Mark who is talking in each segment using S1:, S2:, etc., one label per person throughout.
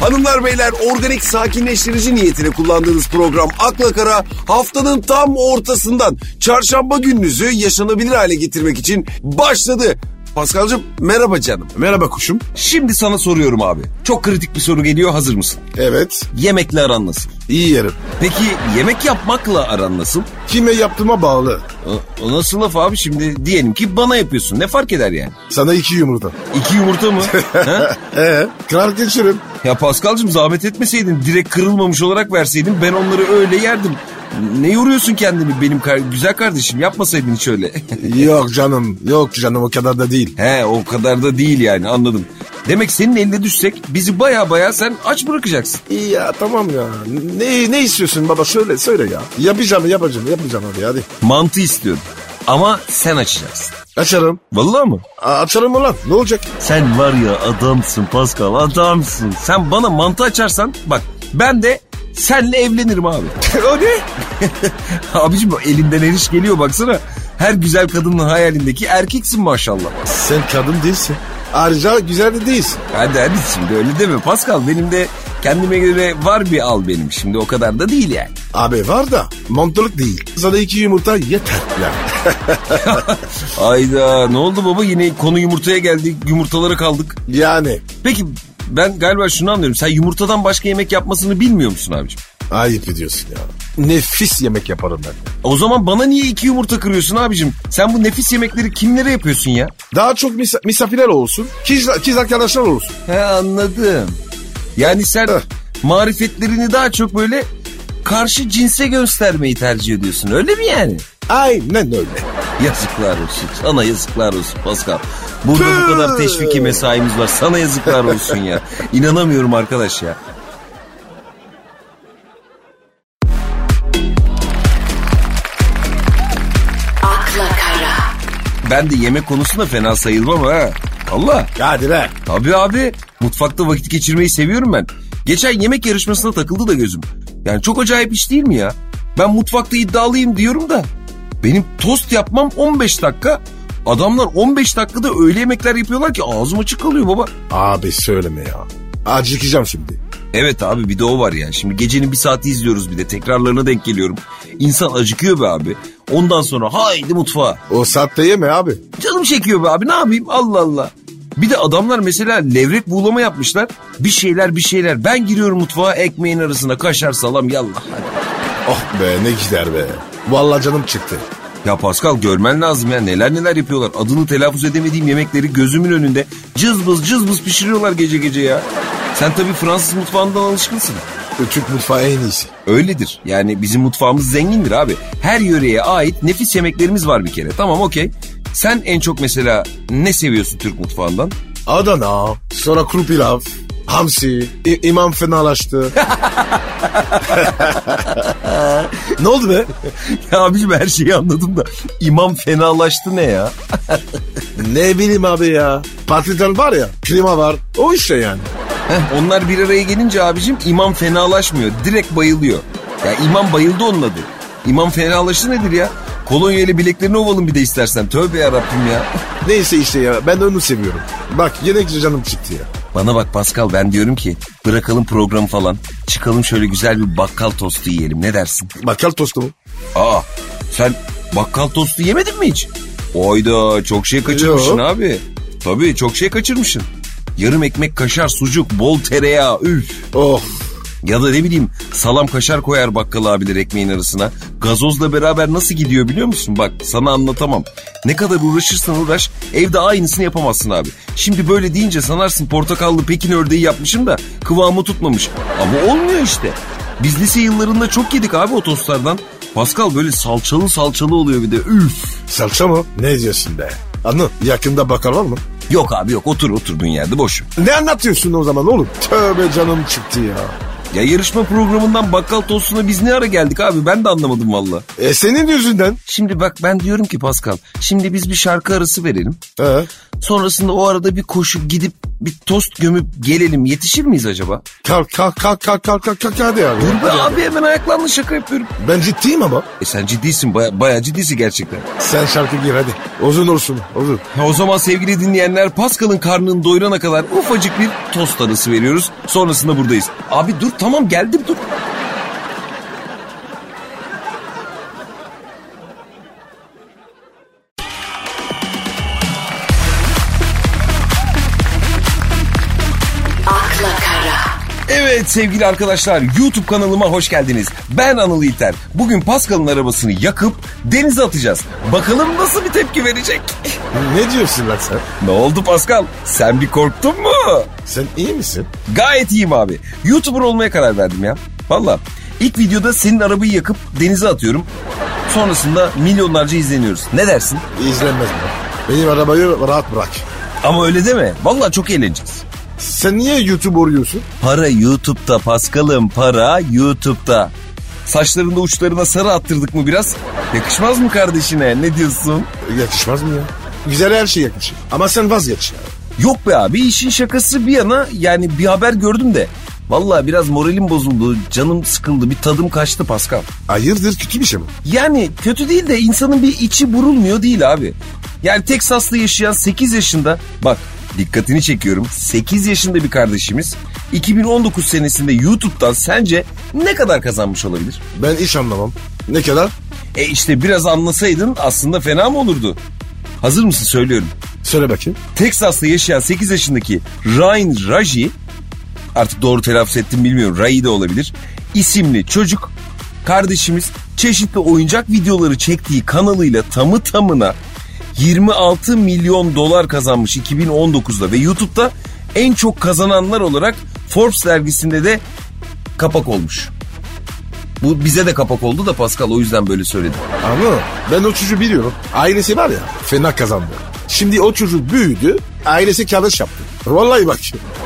S1: Hanımlar beyler organik sakinleştirici niyetine kullandığınız program Akla Kara haftanın tam ortasından çarşamba gününüzü yaşanabilir hale getirmek için başladı. Paskal'cığım merhaba canım.
S2: Merhaba kuşum.
S1: Şimdi sana soruyorum abi. Çok kritik bir soru geliyor hazır mısın?
S2: Evet.
S1: Yemekle aran nasıl?
S2: iyi yerim.
S1: Peki yemek yapmakla aran nasıl?
S2: Kime yaptığıma bağlı.
S1: O, o nasıl laf abi şimdi diyelim ki bana yapıyorsun ne fark eder yani?
S2: Sana iki yumurta.
S1: İki yumurta mı? Ha?
S2: Ee, kral geçirim.
S1: Ya Paskal'cığım zahmet etmeseydin direkt kırılmamış olarak verseydin ben onları öyle yerdim. Ne yoruyorsun kendini benim kar- güzel kardeşim yapmasaydın hiç öyle.
S2: yok canım. Yok canım o kadar da değil.
S1: He o kadar da değil yani anladım. Demek senin eline düşsek bizi baya baya sen aç bırakacaksın.
S2: İyi ya tamam ya. Ne ne istiyorsun baba söyle söyle ya. Yapacağım yapacağım yapacağım abi hadi.
S1: Mantı istiyorum ama sen açacaksın.
S2: Açarım.
S1: Vallahi mı?
S2: A- açarım ulan ne olacak?
S1: Sen var ya adamsın Pascal adamsın. Sen bana mantı açarsan bak ben de senle evlenirim abi.
S2: o ne?
S1: Abicim elinden eriş geliyor baksana. Her güzel kadının hayalindeki erkeksin maşallah.
S2: Sen kadın değilsin. Ayrıca güzel de değilsin.
S1: Hadi hadi şimdi öyle deme Pascal benim de kendime göre var bir al benim şimdi o kadar da değil yani.
S2: Abi var da montoluk değil. Sana iki yumurta yeter ya.
S1: Ayda ne oldu baba yine konu yumurtaya geldik yumurtalara kaldık.
S2: Yani
S1: Peki ben galiba şunu anlıyorum sen yumurtadan başka yemek yapmasını bilmiyor musun abicim?
S2: ayıp ediyorsun ya. Nefis yemek yaparım ben.
S1: O zaman bana niye iki yumurta kırıyorsun abicim? Sen bu nefis yemekleri kimlere yapıyorsun ya?
S2: Daha çok misa- misafirler olsun. Kız, kız arkadaşlar olsun.
S1: He anladım. Öh. Yani sen
S2: Heh.
S1: marifetlerini daha çok böyle karşı cinse göstermeyi tercih ediyorsun öyle mi yani?
S2: Aynen öyle.
S1: Yazıklar olsun sana yazıklar olsun Pascal. Burada
S2: Tüh.
S1: bu kadar teşviki mesaimiz var sana yazıklar olsun ya. İnanamıyorum arkadaş ya.
S3: akla kara,
S1: Ben de yemek konusunda fena sayılmam ha. Allah.
S2: Hadi be.
S1: Abi abi mutfakta vakit geçirmeyi seviyorum ben. Geçen yemek yarışmasına takıldı da gözüm. Yani çok acayip iş değil mi ya? Ben mutfakta iddialıyım diyorum da. Benim tost yapmam 15 dakika. Adamlar 15 dakikada öyle yemekler yapıyorlar ki ağzım açık kalıyor baba.
S2: Abi söyleme ya. Acıkacağım şimdi.
S1: Evet abi bir de o var yani. Şimdi gecenin bir saati izliyoruz bir de tekrarlarına denk geliyorum. İnsan acıkıyor be abi. Ondan sonra haydi mutfağa.
S2: O saatte yeme abi.
S1: Canım çekiyor be abi ne yapayım Allah Allah. Bir de adamlar mesela levrek buğulama yapmışlar. Bir şeyler bir şeyler. Ben giriyorum mutfağa ekmeğin arasına kaşar salam yallah.
S2: Oh be ne gider be. Vallahi canım çıktı.
S1: Ya Pascal görmen lazım ya neler neler yapıyorlar. Adını telaffuz edemediğim yemekleri gözümün önünde cızbız cızbız pişiriyorlar gece gece ya. Sen tabii Fransız mutfağından alışkınsın.
S2: Türk mutfağı en iyisi.
S1: Öyledir. Yani bizim mutfağımız zengindir abi. Her yöreye ait nefis yemeklerimiz var bir kere. Tamam okey. Sen en çok mesela ne seviyorsun Türk mutfağından?
S2: Adana, sonra kuru pilav, hamsi, i- imam fenalaştı. ne oldu be?
S1: Ya abicim her şeyi anladım da imam fenalaştı ne ya?
S2: Ne bileyim abi ya. Patlıcan var ya, klima var. O işte yani.
S1: Heh, onlar bir araya gelince abicim imam fenalaşmıyor. Direkt bayılıyor. Ya imam bayıldı onun adı. İmam fenalaştı nedir ya? Kolonyayla bileklerini ovalım bir de istersen. Tövbe yarabbim ya.
S2: Neyse işte ya ben onu seviyorum. Bak yine canım çıktı ya.
S1: Bana bak Pascal ben diyorum ki bırakalım programı falan. Çıkalım şöyle güzel bir bakkal tostu yiyelim ne dersin?
S2: Bakkal tostu mu?
S1: Aa sen bakkal tostu yemedin mi hiç? Oyda çok şey kaçırmışsın
S2: Yok.
S1: abi. Tabii çok şey kaçırmışsın. Yarım ekmek kaşar sucuk bol tereyağı üf.
S2: Oh
S1: Ya da ne bileyim salam kaşar koyar bakkal abiler ekmeğin arasına. Gazozla beraber nasıl gidiyor biliyor musun? Bak sana anlatamam. Ne kadar uğraşırsan uğraş evde aynısını yapamazsın abi. Şimdi böyle deyince sanarsın portakallı pekin ördeği yapmışım da kıvamı tutmamış. Ama olmuyor işte. Biz lise yıllarında çok yedik abi o tostlardan. Pascal böyle salçalı salçalı oluyor bir de üf.
S2: salça mı? Ne diyorsun be? Anı yakında bakkal var mı?
S1: Yok abi yok otur oturduğun yerde boş. ver.
S2: Ne anlatıyorsun o zaman oğlum? Tövbe canım çıktı ya.
S1: Ya yarışma programından bakkal tostuna biz ne ara geldik abi ben de anlamadım valla.
S2: E senin yüzünden.
S1: Şimdi bak ben diyorum ki Pascal, şimdi biz bir şarkı arası verelim.
S2: He.
S1: Sonrasında o arada bir koşup gidip bir tost gömüp gelelim yetişir miyiz acaba?
S2: Kalk kalk kalk kalk kalk kalk kalk hadi abi.
S1: Dur be abi hemen ayaklandı şaka yapıyorum.
S2: Ben ciddiyim ama.
S1: E sen ciddisin baya, bayağı ciddisin gerçekten.
S2: Sen şarkı gir hadi. Uzun olsun uzun.
S1: Ha, o zaman sevgili dinleyenler Pascal'ın karnını doyurana kadar ufacık bir tost arası veriyoruz. Sonrasında buradayız. Abi dur tamam geldim dur.
S3: akla kara,
S1: Evet sevgili arkadaşlar YouTube kanalıma hoş geldiniz. Ben Anıl İlter. Bugün Pascal'ın arabasını yakıp denize atacağız. Bakalım nasıl bir tepki verecek?
S2: Ne diyorsun lan sen?
S1: ne oldu Pascal? Sen bir korktun mu?
S2: Sen iyi misin?
S1: Gayet iyiyim abi. YouTuber olmaya karar verdim ya. Valla. İlk videoda senin arabayı yakıp denize atıyorum. Sonrasında milyonlarca izleniyoruz. Ne dersin?
S2: İzlenmez mi? Benim arabayı rahat bırak.
S1: Ama öyle deme. Valla çok eğleneceğiz.
S2: Sen niye YouTube oruyorsun?
S1: Para YouTube'da Paskal'ım para YouTube'da. Saçlarında uçlarına sarı attırdık mı biraz? Yakışmaz mı kardeşine? Ne diyorsun?
S2: Yakışmaz mı ya? Güzel her şey yakışır. Ama sen vazgeç ya.
S1: Yok be abi işin şakası bir yana yani bir haber gördüm de. Valla biraz moralim bozuldu, canım sıkıldı, bir tadım kaçtı Paskal.
S2: Hayırdır kötü bir şey mi?
S1: Yani kötü değil de insanın bir içi burulmuyor değil abi. Yani Teksas'ta yaşayan 8 yaşında bak dikkatini çekiyorum 8 yaşında bir kardeşimiz 2019 senesinde YouTube'dan sence ne kadar kazanmış olabilir?
S2: Ben hiç anlamam. Ne kadar?
S1: E işte biraz anlasaydın aslında fena mı olurdu? Hazır mısın söylüyorum.
S2: Söyle bakayım.
S1: Teksas'ta yaşayan 8 yaşındaki Ryan Raji artık doğru telaffuz ettim bilmiyorum Ray de olabilir isimli çocuk kardeşimiz çeşitli oyuncak videoları çektiği kanalıyla tamı tamına 26 milyon dolar kazanmış 2019'da ve YouTube'da en çok kazananlar olarak Forbes dergisinde de kapak olmuş. Bu bize de kapak oldu da Pascal o yüzden böyle söyledim.
S2: Ama ben o çocuğu biliyorum. Ailesi var ya fena kazandı. Şimdi o çocuk büyüdü. Ailesi yanlış yaptı. Vallahi bak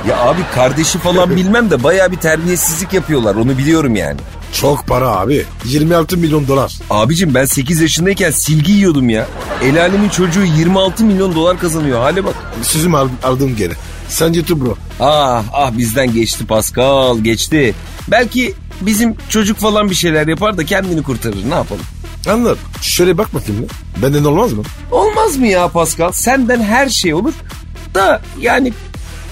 S1: Ya abi kardeşi falan bilmem de bayağı bir terbiyesizlik yapıyorlar onu biliyorum yani.
S2: çok para abi. 26 milyon dolar.
S1: Abicim ben 8 yaşındayken silgi yiyordum ya. El alemin çocuğu 26 milyon dolar kazanıyor hale bak.
S2: Sözüm al- aldım geri. Sen YouTube bro.
S1: Ah ah bizden geçti Pascal geçti. Belki bizim çocuk falan bir şeyler yapar da kendini kurtarır ne yapalım.
S2: Anlar. Şöyle bak bakayım. lan. Benden olmaz mı?
S1: Olmaz mı ya Pascal senden her şey olur da yani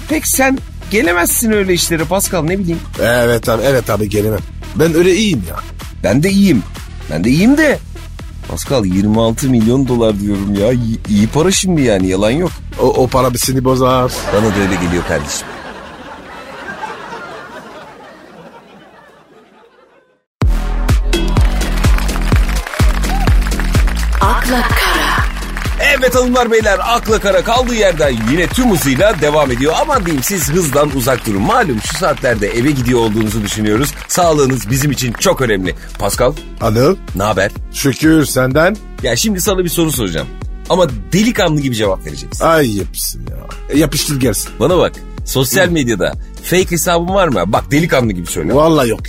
S1: pek sen gelemezsin öyle işlere Pascal ne bileyim.
S2: Evet abi evet abi gelemem. Ben öyle iyiyim ya.
S1: Ben de iyiyim ben de iyiyim de. Pascal 26 milyon dolar diyorum ya İyi- iyi para şimdi yani yalan yok.
S2: O, o para seni bozar.
S1: Bana da öyle geliyor kardeşim.
S3: akla kara,
S1: Evet hanımlar beyler akla kara kaldığı yerden yine tüm hızıyla devam ediyor. Ama diyeyim siz hızdan uzak durun. Malum şu saatlerde eve gidiyor olduğunuzu düşünüyoruz. Sağlığınız bizim için çok önemli. Pascal
S2: Anıl
S1: ne haber?
S2: şükür senden
S1: Ya şimdi sana bir soru soracağım. Ama delikanlı gibi cevap vereceksin.
S2: ay yapışsın ya. E, Yapıştır gelsin.
S1: Bana bak sosyal medyada fake hesabın var mı? Bak delikanlı gibi söyle.
S2: Vallahi yok.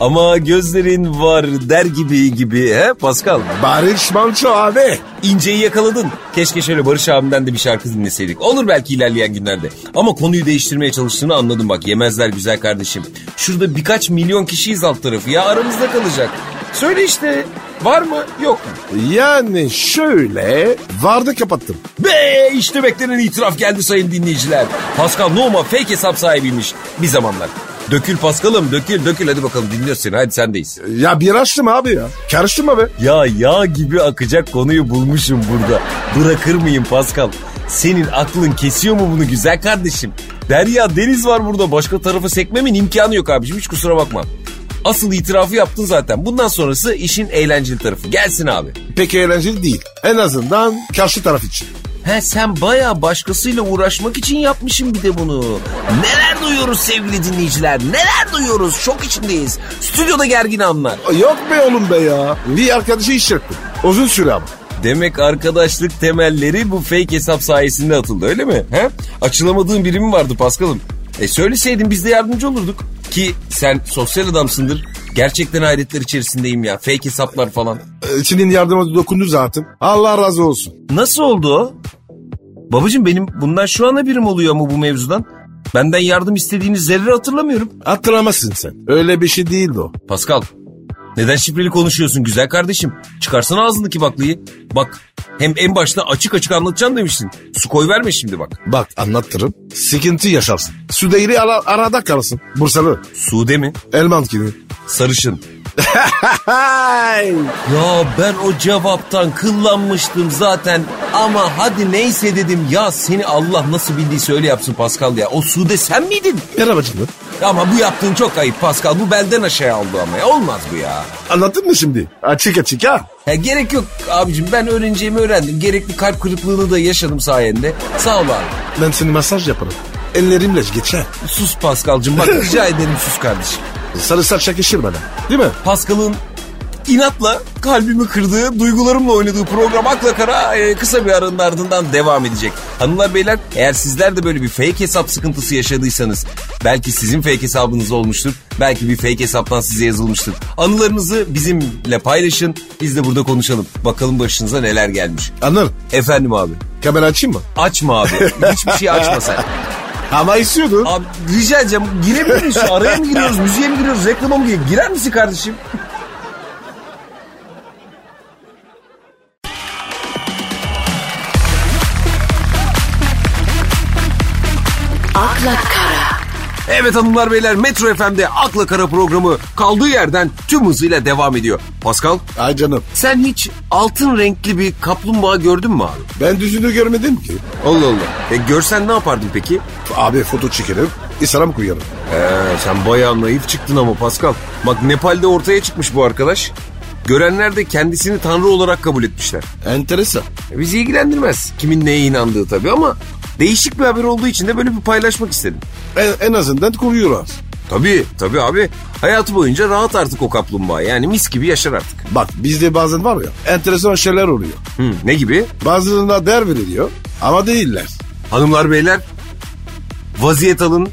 S1: Ama gözlerin var der gibi gibi he Pascal.
S2: Barış Manço abi.
S1: İnceyi yakaladın. Keşke şöyle Barış abimden de bir şarkı dinleseydik. Olur belki ilerleyen günlerde. Ama konuyu değiştirmeye çalıştığını anladım bak. Yemezler güzel kardeşim. Şurada birkaç milyon kişiyiz alt tarafı ya aramızda kalacak. Söyle işte var mı yok mu?
S2: Yani şöyle vardı kapattım.
S1: Be işte beklenen itiraf geldi sayın dinleyiciler. Pascal Numa fake hesap sahibiymiş bir zamanlar. Dökül Paskal'ım dökül dökül hadi bakalım dinliyoruz seni hadi sendeyiz.
S2: Ya bir açtım abi ya. Karıştırma be.
S1: Ya yağ gibi akacak konuyu bulmuşum burada. Bırakır mıyım Pascal? Senin aklın kesiyor mu bunu güzel kardeşim? Derya deniz var burada. Başka tarafa sekmemin imkanı yok abiciğim. Hiç kusura bakma. Asıl itirafı yaptın zaten. Bundan sonrası işin eğlenceli tarafı. Gelsin abi.
S2: Pek eğlenceli değil. En azından karşı taraf için.
S1: He sen baya başkasıyla uğraşmak için yapmışım bir de bunu. Neler duyuyoruz sevgili dinleyiciler? Neler duyuyoruz? Şok içindeyiz. Stüdyoda gergin anlar.
S2: Yok be oğlum be ya. Bir arkadaşı iş yaptım. Uzun süre ama.
S1: Demek arkadaşlık temelleri bu fake hesap sayesinde atıldı öyle mi? He? Açılamadığın biri mi vardı Paskal'ım? E söyleseydin biz de yardımcı olurduk. Ki sen sosyal adamsındır. Gerçekten hayretler içerisindeyim ya. Fake hesaplar falan.
S2: Ee, Senin yardımına dokundu zaten. Allah razı olsun.
S1: Nasıl oldu o? Babacım benim bundan şu an haberim oluyor mu bu mevzudan? Benden yardım istediğini zerre hatırlamıyorum.
S2: Hatırlamazsın sen. Öyle bir şey değildi o.
S1: Pascal neden şifreli konuşuyorsun güzel kardeşim? Çıkarsana ağzındaki baklıyı. Bak hem en başta açık açık anlatacağım demiştin. Su koy verme şimdi bak.
S2: Bak anlattırım. Sıkıntı yaşarsın. Südeyri ara, arada kalırsın. Bursalı.
S1: Sude mi?
S2: Elman gibi.
S1: Sarışın.
S2: Hay!
S1: Ya ben o cevaptan kıllanmıştım zaten ama hadi neyse dedim ya seni Allah nasıl bildiyse öyle yapsın Pascal ya. O Sude sen miydin?
S2: Merhabacım mı?
S1: Ama bu yaptığın çok ayıp Pascal bu benden aşağı aldı ama ya olmaz bu ya.
S2: Anlattın mı şimdi? Açık açık ha.
S1: Ya gerek yok abicim ben öğreneceğimi öğrendim. Gerekli kalp kırıklığını da yaşadım sayende. Sağ ol abi.
S2: Ben seni masaj yaparım. Ellerimle geçer.
S1: Sus Pascal'cığım bak rica ederim sus kardeşim.
S2: Sarı sarı işir bana. Değil mi?
S1: Pascal'ın inatla kalbimi kırdığı, duygularımla oynadığı program Akla Kara e, kısa bir aranın ardından devam edecek. Hanımlar beyler eğer sizler de böyle bir fake hesap sıkıntısı yaşadıysanız belki sizin fake hesabınız olmuştur. Belki bir fake hesaptan size yazılmıştır. Anılarınızı bizimle paylaşın. Biz de burada konuşalım. Bakalım başınıza neler gelmiş.
S2: Anlarım.
S1: Efendim abi.
S2: Kamera açayım mı?
S1: Açma abi. Hiçbir şey açma sen.
S2: Ama istiyordun.
S1: Abi rica edeceğim. Girebilir miyiz? Araya mı giriyoruz? Müziğe mi giriyoruz? Reklama mı giriyoruz? Girer misin kardeşim?
S3: akla kara,
S1: Evet hanımlar beyler Metro FM'de Akla Kara programı kaldığı yerden tüm hızıyla devam ediyor. Pascal
S2: Ay canım.
S1: sen hiç altın renkli bir kaplumbağa gördün mü abi?
S2: Ben düzünü görmedim ki.
S1: Allah Allah. E görsen ne yapardın peki?
S2: Abi foto çekerim. İslam koyarım.
S1: Ee, sen bayağı naif çıktın ama Pascal. Bak Nepal'de ortaya çıkmış bu arkadaş. Görenler de kendisini tanrı olarak kabul etmişler.
S2: Enteresan.
S1: E, Bizi ilgilendirmez kimin neye inandığı tabii ama değişik bir haber olduğu için de böyle bir paylaşmak istedim.
S2: En, en azından koruyorlar.
S1: Tabii tabii abi hayatı boyunca rahat artık o kaplumbağa yani mis gibi yaşar artık.
S2: Bak bizde bazen var ya enteresan şeyler oluyor.
S1: Hı, ne gibi?
S2: Bazılarına değer veriliyor ama değiller.
S1: Hanımlar beyler vaziyet alın.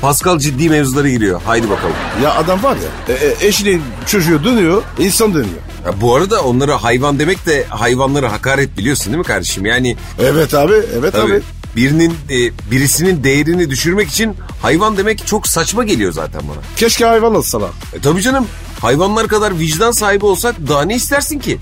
S1: Pascal ciddi mevzulara giriyor. Haydi bakalım.
S2: Ya adam var ya e, e, eşine çocuğu dönüyor insan dönüyor.
S1: Ya bu arada onlara hayvan demek de hayvanlara hakaret biliyorsun değil mi kardeşim? Yani
S2: Evet abi evet
S1: tabii
S2: abi.
S1: birinin e, birisinin değerini düşürmek için hayvan demek çok saçma geliyor zaten bana.
S2: Keşke hayvan olsalar.
S1: E, tabii canım hayvanlar kadar vicdan sahibi olsak daha ne istersin ki?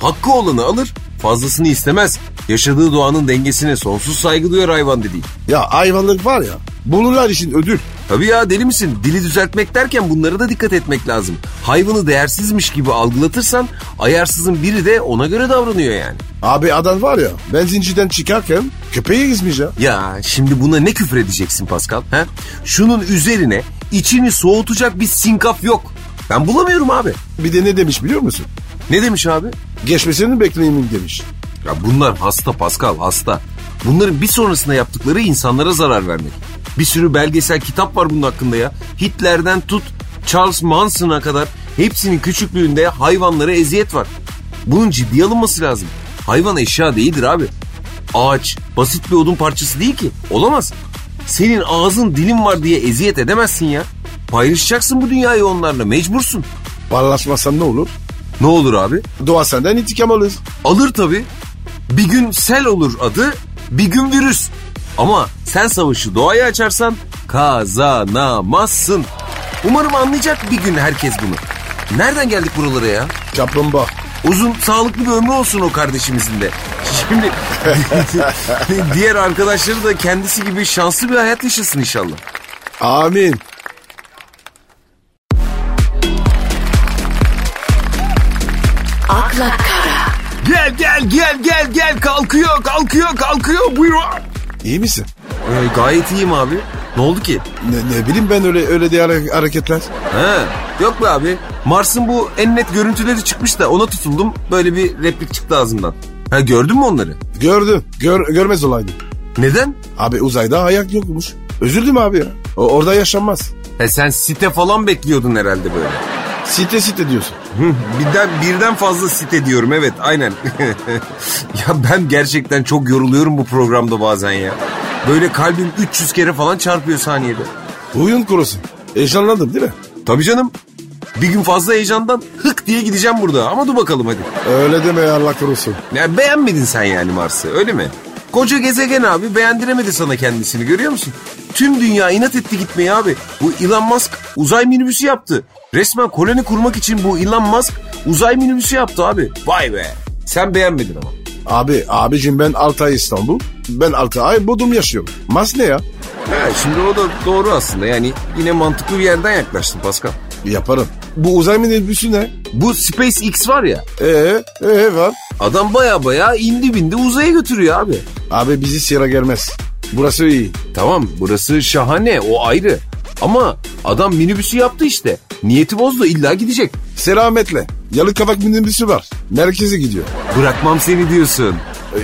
S1: Hakkı olanı alır fazlasını istemez. Yaşadığı doğanın dengesine sonsuz saygı duyar hayvan dediğin.
S2: Ya hayvanlık var ya bunlar için ödül.
S1: Tabii ya deli misin? Dili düzeltmek derken bunlara da dikkat etmek lazım. Hayvanı değersizmiş gibi algılatırsan ayarsızın biri de ona göre davranıyor yani.
S2: Abi adam var ya benzinciden çıkarken köpeği ezmiş ya.
S1: Ya şimdi buna ne küfür edeceksin Pascal? He? Şunun üzerine içini soğutacak bir sinkaf yok. Ben bulamıyorum abi.
S2: Bir de ne demiş biliyor musun?
S1: Ne demiş abi?
S2: Geçmesini bekleyeyim demiş.
S1: Ya bunlar hasta Pascal hasta. Bunların bir sonrasında yaptıkları insanlara zarar vermek. Bir sürü belgesel kitap var bunun hakkında ya. Hitler'den tut Charles Manson'a kadar hepsinin küçüklüğünde hayvanlara eziyet var. Bunun ciddiye alınması lazım. Hayvan eşya değildir abi. Ağaç basit bir odun parçası değil ki. Olamaz. Senin ağzın dilin var diye eziyet edemezsin ya. Paylaşacaksın bu dünyayı onlarla mecbursun.
S2: Parlaşmasan ne olur?
S1: Ne olur abi?
S2: Doğa senden intikam alır.
S1: Alır tabii. Bir gün sel olur adı, bir gün virüs. Ama sen savaşı doğaya açarsan kazanamazsın. Umarım anlayacak bir gün herkes bunu. Nereden geldik buralara ya?
S2: Kaplumbağa.
S1: Uzun sağlıklı bir ömrü olsun o kardeşimizin de. Şimdi diğer arkadaşları da kendisi gibi şanslı bir hayat yaşasın inşallah.
S2: Amin.
S3: akla kara,
S1: Gel gel gel gel gel kalkıyor kalkıyor kalkıyor buyur.
S2: İyi misin?
S1: Ee, gayet iyiyim abi. Ne oldu ki?
S2: Ne, ne bileyim ben öyle öyle diye hare- hareketler.
S1: He, yok be abi. Mars'ın bu en net görüntüleri çıkmış da ona tutuldum. Böyle bir replik çıktı ağzımdan. Ha gördün mü onları?
S2: Gördüm. Gör, görmez olaydım.
S1: Neden?
S2: Abi uzayda ayak yokmuş. Özür dilerim abi ya. O, orada yaşanmaz.
S1: He sen site falan bekliyordun herhalde böyle.
S2: Site site diyorsun.
S1: Hı, birden birden fazla site diyorum evet aynen. ya ben gerçekten çok yoruluyorum bu programda bazen ya. Böyle kalbim 300 kere falan çarpıyor saniyede.
S2: Huyun kurusun. Heyecanlandım değil mi?
S1: Tabii canım. Bir gün fazla heyecandan hık diye gideceğim burada ama dur bakalım hadi.
S2: Öyle deme ya Allah korusun.
S1: Ya beğenmedin sen yani Mars'ı öyle mi? Koca gezegen abi beğendiremedi sana kendisini görüyor musun? Tüm dünya inat etti gitmeye abi. Bu Elon Musk uzay minibüsü yaptı. Resmen koloni kurmak için bu Elon Musk uzay minibüsü yaptı abi. Vay be. Sen beğenmedin ama.
S2: Abi abicim ben 6 ay İstanbul. Ben 6 ay Bodrum yaşıyorum. Mas ne ya?
S1: Ha, şimdi o da doğru aslında yani yine mantıklı bir yerden yaklaştın Pascal.
S2: Yaparım. Bu uzay minibüsü ne?
S1: Bu SpaceX var ya
S2: Ee, ee var.
S1: adam baya baya indi bindi uzaya götürüyor abi.
S2: Abi bizi sıra gelmez. Burası iyi.
S1: Tamam burası şahane o ayrı. Ama adam minibüsü yaptı işte. Niyeti bozdu illa gidecek.
S2: Selametle. Yalı kavak minibüsü var. Merkeze gidiyor.
S1: Bırakmam seni diyorsun.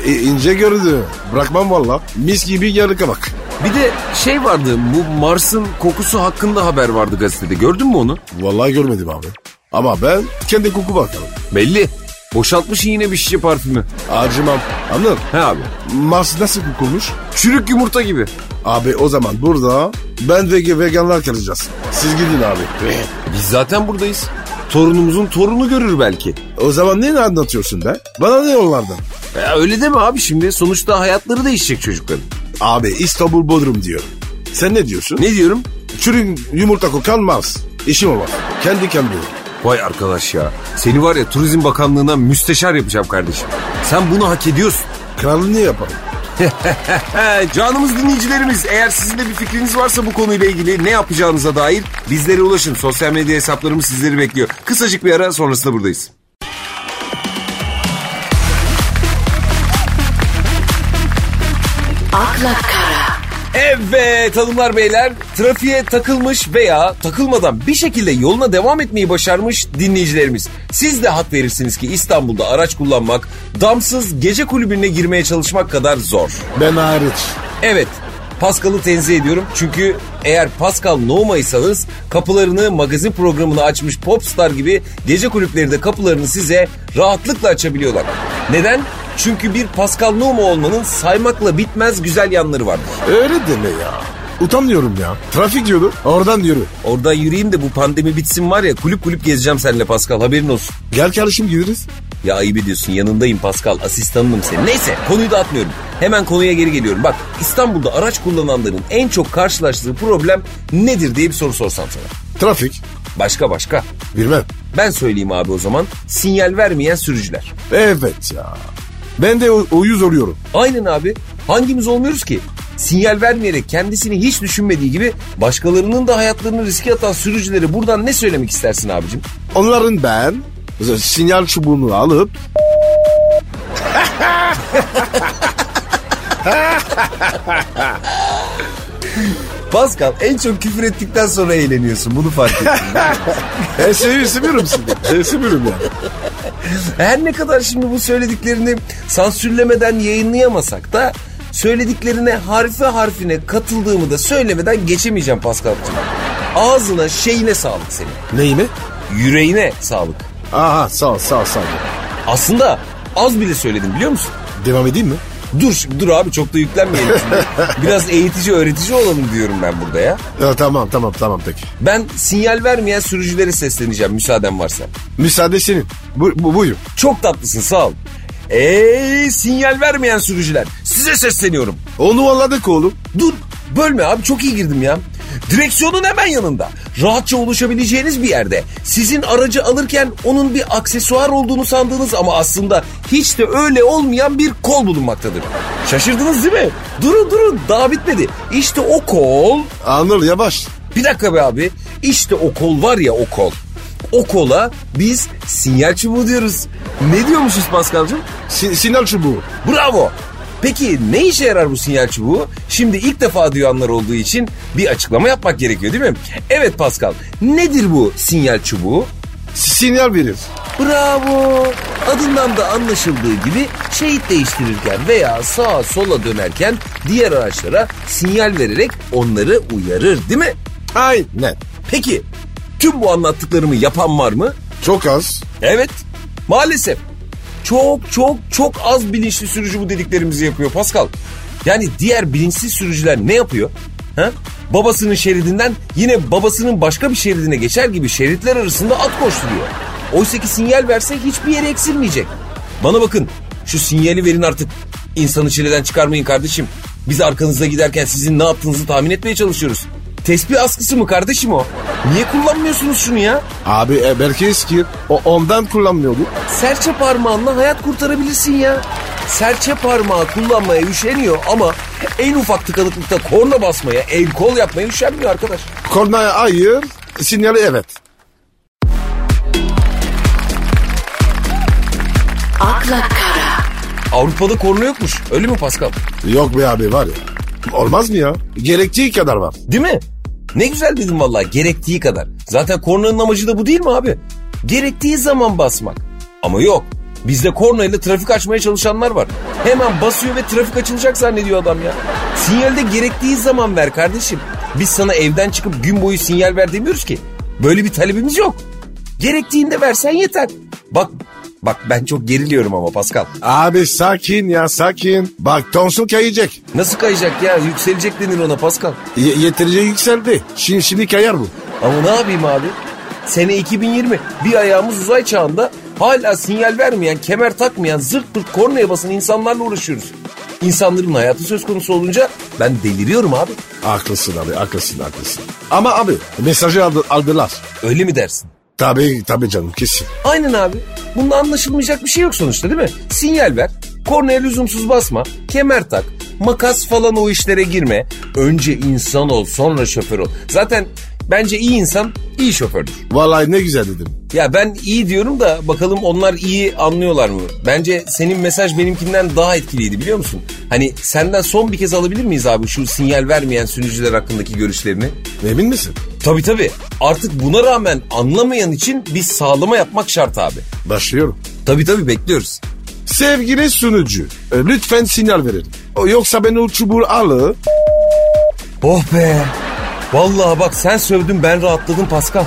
S2: E, ince gördü. Bırakmam valla. Mis gibi yalı kavak.
S1: Bir de şey vardı bu Mars'ın kokusu hakkında haber vardı gazetede gördün mü onu?
S2: Vallahi görmedim abi. Ama ben kendi koku bakarım.
S1: Belli. Boşaltmış yine bir şişe parfümü.
S2: Acımam. Anladın?
S1: He abi.
S2: Mars nasıl kokumuş?
S1: Çürük yumurta gibi.
S2: Abi o zaman burada ben ve veganlar kalacağız. Siz gidin abi.
S1: Biz zaten buradayız. Torunumuzun torunu görür belki.
S2: O zaman ne anlatıyorsun be? Bana ne onlardan?
S1: Ya E, öyle deme abi şimdi. Sonuçta hayatları değişecek çocukların.
S2: Abi İstanbul Bodrum diyorum. Sen ne diyorsun?
S1: Ne diyorum?
S2: Çürük yumurta kokan Mars. İşim olmaz. Kendi kendime.
S1: Vay arkadaş ya. Seni var ya Turizm Bakanlığı'na müsteşar yapacağım kardeşim. Sen bunu hak ediyorsun.
S2: Kralını ne yaparım?
S1: He, canımız dinleyicilerimiz eğer sizin de bir fikriniz varsa bu konuyla ilgili ne yapacağınıza dair bizlere ulaşın. Sosyal medya hesaplarımız sizleri bekliyor. Kısacık bir ara sonrasında buradayız.
S3: akla kara,
S1: Evet hanımlar beyler trafiğe takılmış veya takılmadan bir şekilde yoluna devam etmeyi başarmış dinleyicilerimiz. Siz de hak verirsiniz ki İstanbul'da araç kullanmak damsız gece kulübüne girmeye çalışmak kadar zor.
S2: Ben hariç.
S1: Evet Pascal'ı tenzih ediyorum çünkü eğer Pascal Nohma'ysanız kapılarını magazin programını açmış popstar gibi gece kulüpleri de kapılarını size rahatlıkla açabiliyorlar. Neden? Çünkü bir Pascal Nohma olmanın saymakla bitmez güzel yanları vardır.
S2: Öyle deme ya. Utanıyorum ya. Trafik yolu oradan yürü.
S1: Orada yürüyeyim de bu pandemi bitsin var ya kulüp kulüp gezeceğim seninle Pascal haberin olsun.
S2: Gel kardeşim gideriz.
S1: Ya ayıp ediyorsun yanındayım Pascal asistanım senin. Neyse konuyu dağıtmıyorum. Hemen konuya geri geliyorum. Bak İstanbul'da araç kullananların en çok karşılaştığı problem nedir diye bir soru sorsam sana.
S2: Trafik.
S1: Başka başka.
S2: Bilmem.
S1: Ben söyleyeyim abi o zaman. Sinyal vermeyen sürücüler.
S2: Evet ya. Ben de o, uyuz oluyorum.
S1: Aynen abi. Hangimiz olmuyoruz ki? Sinyal vermeyerek kendisini hiç düşünmediği gibi başkalarının da hayatlarını riske atan sürücülere buradan ne söylemek istersin abicim?
S2: Onların ben sinyal çubuğunu alıp
S1: Pascal en çok küfür ettikten sonra eğleniyorsun bunu fark ettim.
S2: e, seviyorum, seviyorum sizi. E, seviyorum ya.
S1: Her ne kadar şimdi bu söylediklerini sansürlemeden yayınlayamasak da söylediklerine harfi harfine katıldığımı da söylemeden geçemeyeceğim Pascal'cığım. Ağzına şeyine sağlık senin.
S2: Neyimi?
S1: Yüreğine sağlık.
S2: Aha sağ ol sağ ol sağ ol.
S1: Aslında az bile söyledim biliyor musun?
S2: Devam edeyim mi?
S1: Dur şimdi dur abi çok da yüklenmeyelim şimdi. Biraz eğitici öğretici olalım diyorum ben burada ya.
S2: Ya, tamam tamam tamam peki.
S1: Ben sinyal vermeyen sürücülere sesleneceğim müsaaden varsa.
S2: Müsaade senin. Bu, bu, buyur.
S1: Çok tatlısın sağ ol. Ey sinyal vermeyen sürücüler size sesleniyorum.
S2: Onu anladık oğlum.
S1: Dur bölme abi çok iyi girdim ya. Direksiyonun hemen yanında. Rahatça ulaşabileceğiniz bir yerde. Sizin aracı alırken onun bir aksesuar olduğunu sandığınız ama aslında hiç de öyle olmayan bir kol bulunmaktadır. Şaşırdınız değil mi? Durun durun daha bitmedi. İşte o kol
S2: Anıl yavaş.
S1: bir dakika be abi. İşte o kol var ya o kol. O kola biz sinyal çubuğu diyoruz. Ne diyormuşuz Paskal'cığım?
S2: Si- sinyal çubuğu.
S1: Bravo. Peki ne işe yarar bu sinyal çubuğu? Şimdi ilk defa duyanlar olduğu için bir açıklama yapmak gerekiyor değil mi? Evet Pascal. Nedir bu sinyal çubuğu?
S2: Si- sinyal verir.
S1: Bravo. Adından da anlaşıldığı gibi şehit değiştirirken veya sağa sola dönerken diğer araçlara sinyal vererek onları uyarır değil mi?
S2: Aynen.
S1: Peki tüm bu anlattıklarımı yapan var mı?
S2: Çok az.
S1: Evet maalesef çok çok çok az bilinçli sürücü bu dediklerimizi yapıyor Pascal. Yani diğer bilinçsiz sürücüler ne yapıyor? Ha? Babasının şeridinden yine babasının başka bir şeridine geçer gibi şeritler arasında at koşturuyor. Oysa ki sinyal verse hiçbir yere eksilmeyecek. Bana bakın şu sinyali verin artık. İnsanı çileden çıkarmayın kardeşim. Biz arkanızda giderken sizin ne yaptığınızı tahmin etmeye çalışıyoruz. Tespih askısı mı kardeşim o? Niye kullanmıyorsunuz şunu ya?
S2: Abi e, belki eski. O ondan kullanmıyordu.
S1: Serçe parmağınla hayat kurtarabilirsin ya. Serçe parmağı kullanmaya üşeniyor ama en ufak tıkanıklıkta korna basmaya, el kol yapmaya üşenmiyor arkadaş.
S2: Kornaya hayır, sinyali evet.
S3: akla kara,
S1: Avrupa'da korna yokmuş. Öyle mi Pascal?
S2: Yok be abi var ya. Olmaz mı ya? Gerektiği kadar var.
S1: Değil mi? Ne güzel dedim vallahi gerektiği kadar. Zaten kornanın amacı da bu değil mi abi? Gerektiği zaman basmak. Ama yok. Bizde kornayla trafik açmaya çalışanlar var. Hemen basıyor ve trafik açılacak zannediyor adam ya. Sinyalde gerektiği zaman ver kardeşim. Biz sana evden çıkıp gün boyu sinyal ver demiyoruz ki. Böyle bir talebimiz yok. Gerektiğinde versen yeter. Bak bak ben çok geriliyorum ama Pascal.
S2: Abi sakin ya sakin. Bak tonsun kayacak.
S1: Nasıl kayacak ya? Yükselecek denir ona Pascal.
S2: Ye- yeterince yükseldi. Şimdi, şimdi kayar bu.
S1: Ama ne yapayım abi? Sene 2020 bir ayağımız uzay çağında hala sinyal vermeyen, kemer takmayan, zırt pırt kornaya basın insanlarla uğraşıyoruz. İnsanların hayatı söz konusu olunca ben deliriyorum abi.
S2: Haklısın abi haklısın haklısın. Ama abi mesajı aldı, aldılar.
S1: Öyle mi dersin?
S2: Tabii tabii canım kesin.
S1: Aynen abi. Bunda anlaşılmayacak bir şey yok sonuçta değil mi? Sinyal ver, kornaya lüzumsuz basma, kemer tak, makas falan o işlere girme. Önce insan ol, sonra şoför ol. Zaten bence iyi insan iyi şofördür.
S2: Vallahi ne güzel dedim.
S1: Ya ben iyi diyorum da bakalım onlar iyi anlıyorlar mı? Bence senin mesaj benimkinden daha etkiliydi biliyor musun? Hani senden son bir kez alabilir miyiz abi şu sinyal vermeyen sürücüler hakkındaki görüşlerini?
S2: Emin misin?
S1: Tabii tabii. Artık buna rağmen anlamayan için biz sağlama yapmak şart abi.
S2: Başlıyorum.
S1: Tabii tabii bekliyoruz.
S2: Sevgili sunucu e, lütfen sinyal verin. O- Yoksa beni o çubuğu alır.
S1: Oh be. Vallahi bak sen sövdün ben rahatladım Pascal.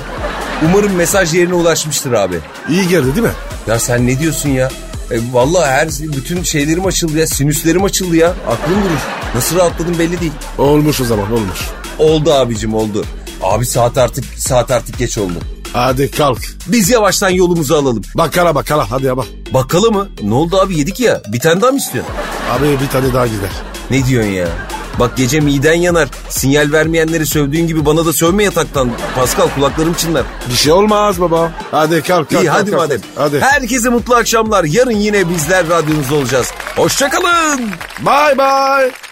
S1: Umarım mesaj yerine ulaşmıştır abi.
S2: İyi geldi değil mi?
S1: Ya sen ne diyorsun ya? E, vallahi her bütün şeylerim açıldı ya. Sinüslerim açıldı ya. Aklım durur. Nasıl rahatladım belli değil.
S2: Olmuş o zaman olmuş.
S1: Oldu abicim oldu. Abi saat artık saat artık geç oldu.
S2: Hadi kalk.
S1: Biz yavaştan yolumuzu alalım.
S2: Bakara bakara hadi ama.
S1: Bakkala mı? Ne oldu abi yedik ya. Bir tane daha mı istiyorsun?
S2: Abi bir tane daha gider.
S1: Ne diyorsun ya? Bak gece miden yanar. Sinyal vermeyenleri sövdüğün gibi bana da sövme yataktan. Pascal kulaklarım çınlar.
S2: Bir şey olmaz baba. Hadi kalk kalk.
S1: İyi
S2: kalk,
S1: hadi
S2: kalk.
S1: madem.
S2: Hadi.
S1: Herkese mutlu akşamlar. Yarın yine bizler radyonuzda olacağız. Hoşçakalın.
S2: Bye bye.